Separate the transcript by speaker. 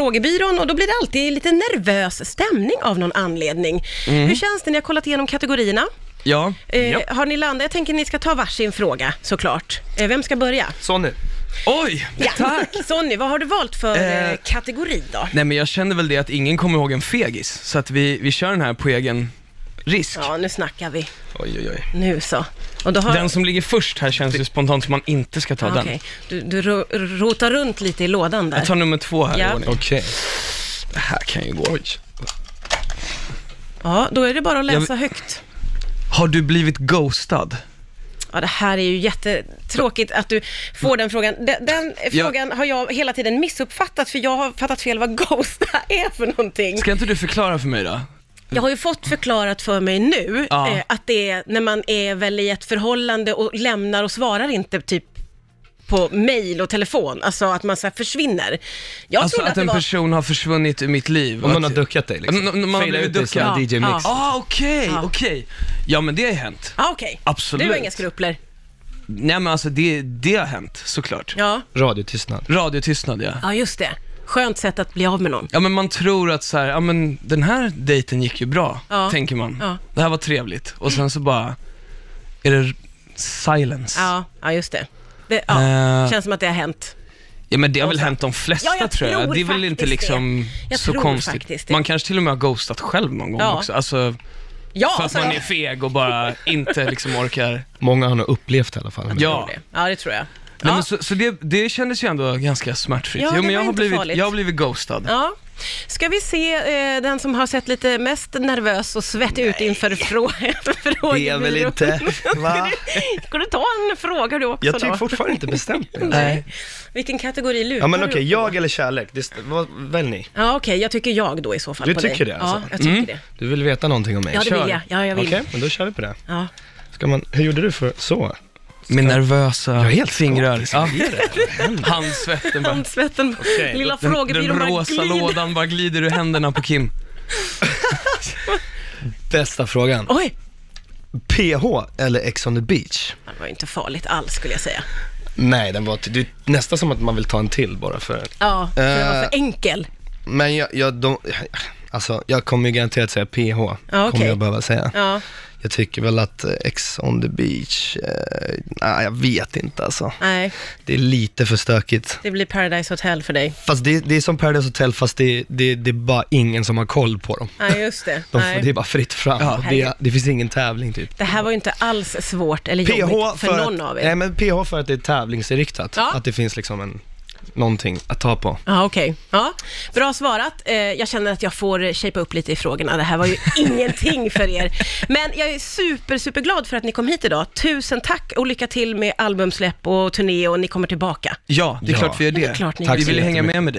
Speaker 1: frågebyrån och då blir det alltid lite nervös stämning av någon anledning. Hur känns det? Ni har kollat igenom kategorierna.
Speaker 2: Mhm. Ja,
Speaker 1: Eh,
Speaker 3: Ja.
Speaker 1: Har ni landat? Jag tänker ni ska ta varsin fråga såklart. Eh, vem ska börja?
Speaker 3: Så nu.
Speaker 2: oj! Tack!
Speaker 1: Sonny, vad har du valt för
Speaker 2: Eh,
Speaker 1: eh, kategori då?
Speaker 2: Nej men jag kände väl det att ingen kommer ihåg en fegis, så att vi, vi kör den här på egen risk.
Speaker 1: Ja, nu snackar vi.
Speaker 2: Oj, oj, oj.
Speaker 1: Nu så. Och då har...
Speaker 2: Den som ligger först här känns ju spontant som man inte ska ta
Speaker 1: Ah,
Speaker 2: den.
Speaker 1: okej. Du, du ro- rotar runt lite i lådan där.
Speaker 2: Jag tar nummer två här
Speaker 1: Ja.
Speaker 2: i ordning.
Speaker 3: Okej.
Speaker 2: Det här kan ju gå.
Speaker 1: Ja, då är det bara att
Speaker 2: Jag-
Speaker 1: läsa högt.
Speaker 2: Har du blivit ghostad?
Speaker 1: Ja, det här är ju jättetråkigt att du får den frågan. Den, den
Speaker 2: Ja.
Speaker 1: frågan har jag hela tiden missuppfattat, för jag har fattat fel vad ghosta är för någonting.
Speaker 2: Ska inte du förklara för mig då?
Speaker 1: Jag har ju fått förklarat för mig nu
Speaker 2: Ja.
Speaker 1: eh, att det är när man är väl i ett förhållande och lämnar och svarar inte typ på mail och telefon, alltså att man så här försvinner. Jag
Speaker 2: Alltså
Speaker 1: trodde
Speaker 2: att
Speaker 1: att det
Speaker 2: en
Speaker 1: var...
Speaker 2: person har försvunnit ur mitt liv.
Speaker 3: Om
Speaker 2: och
Speaker 3: någon har
Speaker 2: att-
Speaker 3: duckat dig liksom.
Speaker 2: N- n- man har
Speaker 3: Failar
Speaker 2: blivit
Speaker 3: ut dig som
Speaker 2: duckad.
Speaker 3: DJ Mix.
Speaker 1: Ja.
Speaker 2: Ah, okej,
Speaker 1: Ja.
Speaker 2: okej. Ja, men det har ju hänt.
Speaker 1: Ja, okej.
Speaker 2: Absolut.
Speaker 1: Du har inga skrupler.
Speaker 2: Nej, men alltså det, det har hänt, såklart.
Speaker 1: Ja.
Speaker 3: Radiotystnad.
Speaker 2: Radiotystnad, ja.
Speaker 1: ja, just det. Skönt sätt att bli av med någon.
Speaker 2: Ja, men man tror att så här, ja men den här dejten gick ju bra,
Speaker 1: Ja.
Speaker 2: tänker man.
Speaker 1: Ja.
Speaker 2: Det här var trevligt. Och sen så bara, är det silence.
Speaker 1: Ja, ja just det. det ja.
Speaker 2: Eh.
Speaker 1: Känns som att det har hänt.
Speaker 2: Ja men det har väl hänt de flesta
Speaker 1: Ja, jag
Speaker 2: tror jag.
Speaker 1: tror
Speaker 2: Det är väl
Speaker 1: faktiskt
Speaker 2: inte liksom
Speaker 1: det. Jag
Speaker 2: så
Speaker 1: tror
Speaker 2: konstigt.
Speaker 1: faktiskt det.
Speaker 2: Man kanske till och med har ghostat själv någon gång
Speaker 1: Ja.
Speaker 2: också. Alltså,
Speaker 1: Ja,
Speaker 2: för att
Speaker 1: så-
Speaker 2: man är feg och bara inte liksom orkar.
Speaker 3: Många har nog upplevt i alla fall.
Speaker 2: Ja.
Speaker 1: ja, det tror jag.
Speaker 2: Nej,
Speaker 1: Ja.
Speaker 2: men så, så det, det kändes ju ändå ganska smärtfritt.
Speaker 1: Ja,
Speaker 2: jo,
Speaker 1: det
Speaker 2: men
Speaker 1: var
Speaker 2: jag, har
Speaker 1: inte
Speaker 2: blivit,
Speaker 1: farligt.
Speaker 2: jag har blivit ghostad.
Speaker 1: Ja. Ska vi se eh, den som har sett lite mest nervös och svettig ut inför frågan?
Speaker 3: Va?
Speaker 1: Ska du ta en fråga du också
Speaker 4: Jag tycker
Speaker 1: då?
Speaker 4: fortfarande inte bestämt mig.
Speaker 2: Nej.
Speaker 1: Vilken kategori lutar
Speaker 4: Ja men okej,
Speaker 1: du?
Speaker 4: jag eller kärlek, det, st- vad, välj ni.
Speaker 1: Ja, okej, jag tycker jag då i så fall
Speaker 4: Du
Speaker 1: på
Speaker 4: tycker
Speaker 1: dig.
Speaker 4: det, alltså?
Speaker 1: Ja, jag tycker det.
Speaker 3: Du vill veta någonting om mig?
Speaker 1: Ja, det
Speaker 3: Kör.
Speaker 1: vill jag. Ja, jag vill.
Speaker 4: Okej, men då kör vi på det.
Speaker 1: Ja.
Speaker 4: Ska man, hur gjorde du för så?
Speaker 2: Min nervösa
Speaker 4: är helt
Speaker 2: fingrar. Ja. Handsvetten bara.
Speaker 1: Handsvetten, lilla
Speaker 2: Den, den
Speaker 1: frågebyrån bara
Speaker 2: rosa
Speaker 1: glider.
Speaker 2: lådan bara glider ur händerna på Kim.
Speaker 3: Bästa frågan.
Speaker 1: Oj,
Speaker 4: PH eller Ex on the beach?
Speaker 1: det var ju inte farligt alls skulle jag säga.
Speaker 4: Nej, den var, t- det är nästan som att man vill ta en till bara för...
Speaker 1: Ja, för jag var
Speaker 4: Eh.
Speaker 1: för enkel.
Speaker 4: Men jag, jag, de, alltså, jag kommer ju garanterat säga PH,
Speaker 1: okej.
Speaker 4: kommer jag behöva säga.
Speaker 1: Ja,
Speaker 4: Jag tycker väl att eh, Ex on the beach, eh, nej jag vet inte alltså.
Speaker 1: nej,
Speaker 4: Det är lite för stökigt.
Speaker 1: det blir Paradise Hotel för dig.
Speaker 4: Fast det, det är som Paradise Hotel fast det, det, det är bara ingen som har koll på dem.
Speaker 1: Nej, just det.
Speaker 4: De,
Speaker 1: Nej.
Speaker 4: får- det är bara fritt fram.
Speaker 2: Ja.
Speaker 4: och det, det finns ingen tävling typ.
Speaker 1: Det här var ju inte alls svårt eller
Speaker 4: PH
Speaker 1: jobbigt för,
Speaker 4: för,
Speaker 1: någon
Speaker 4: att,
Speaker 1: av
Speaker 4: Nej,
Speaker 1: er.
Speaker 4: men PH för att det är tävlingsinriktat.
Speaker 1: Ja.
Speaker 4: Att det finns liksom en, någonting att ta på.
Speaker 1: Ja, okej. Ja, bra svarat. Eh, Jag känner att jag får eh, shapea upp lite i frågorna. Det här var ju ingenting för er. Men jag är super, superglad för att ni kom hit idag. Tusen tack och lycka till med albumsläpp och turné och ni kommer tillbaka.
Speaker 2: Ja, det är
Speaker 4: Ja.
Speaker 2: klart vi gör
Speaker 1: Ja, det
Speaker 2: det.
Speaker 1: är klart ni
Speaker 2: vi
Speaker 1: gör.
Speaker 2: vill ju hänga med med dig.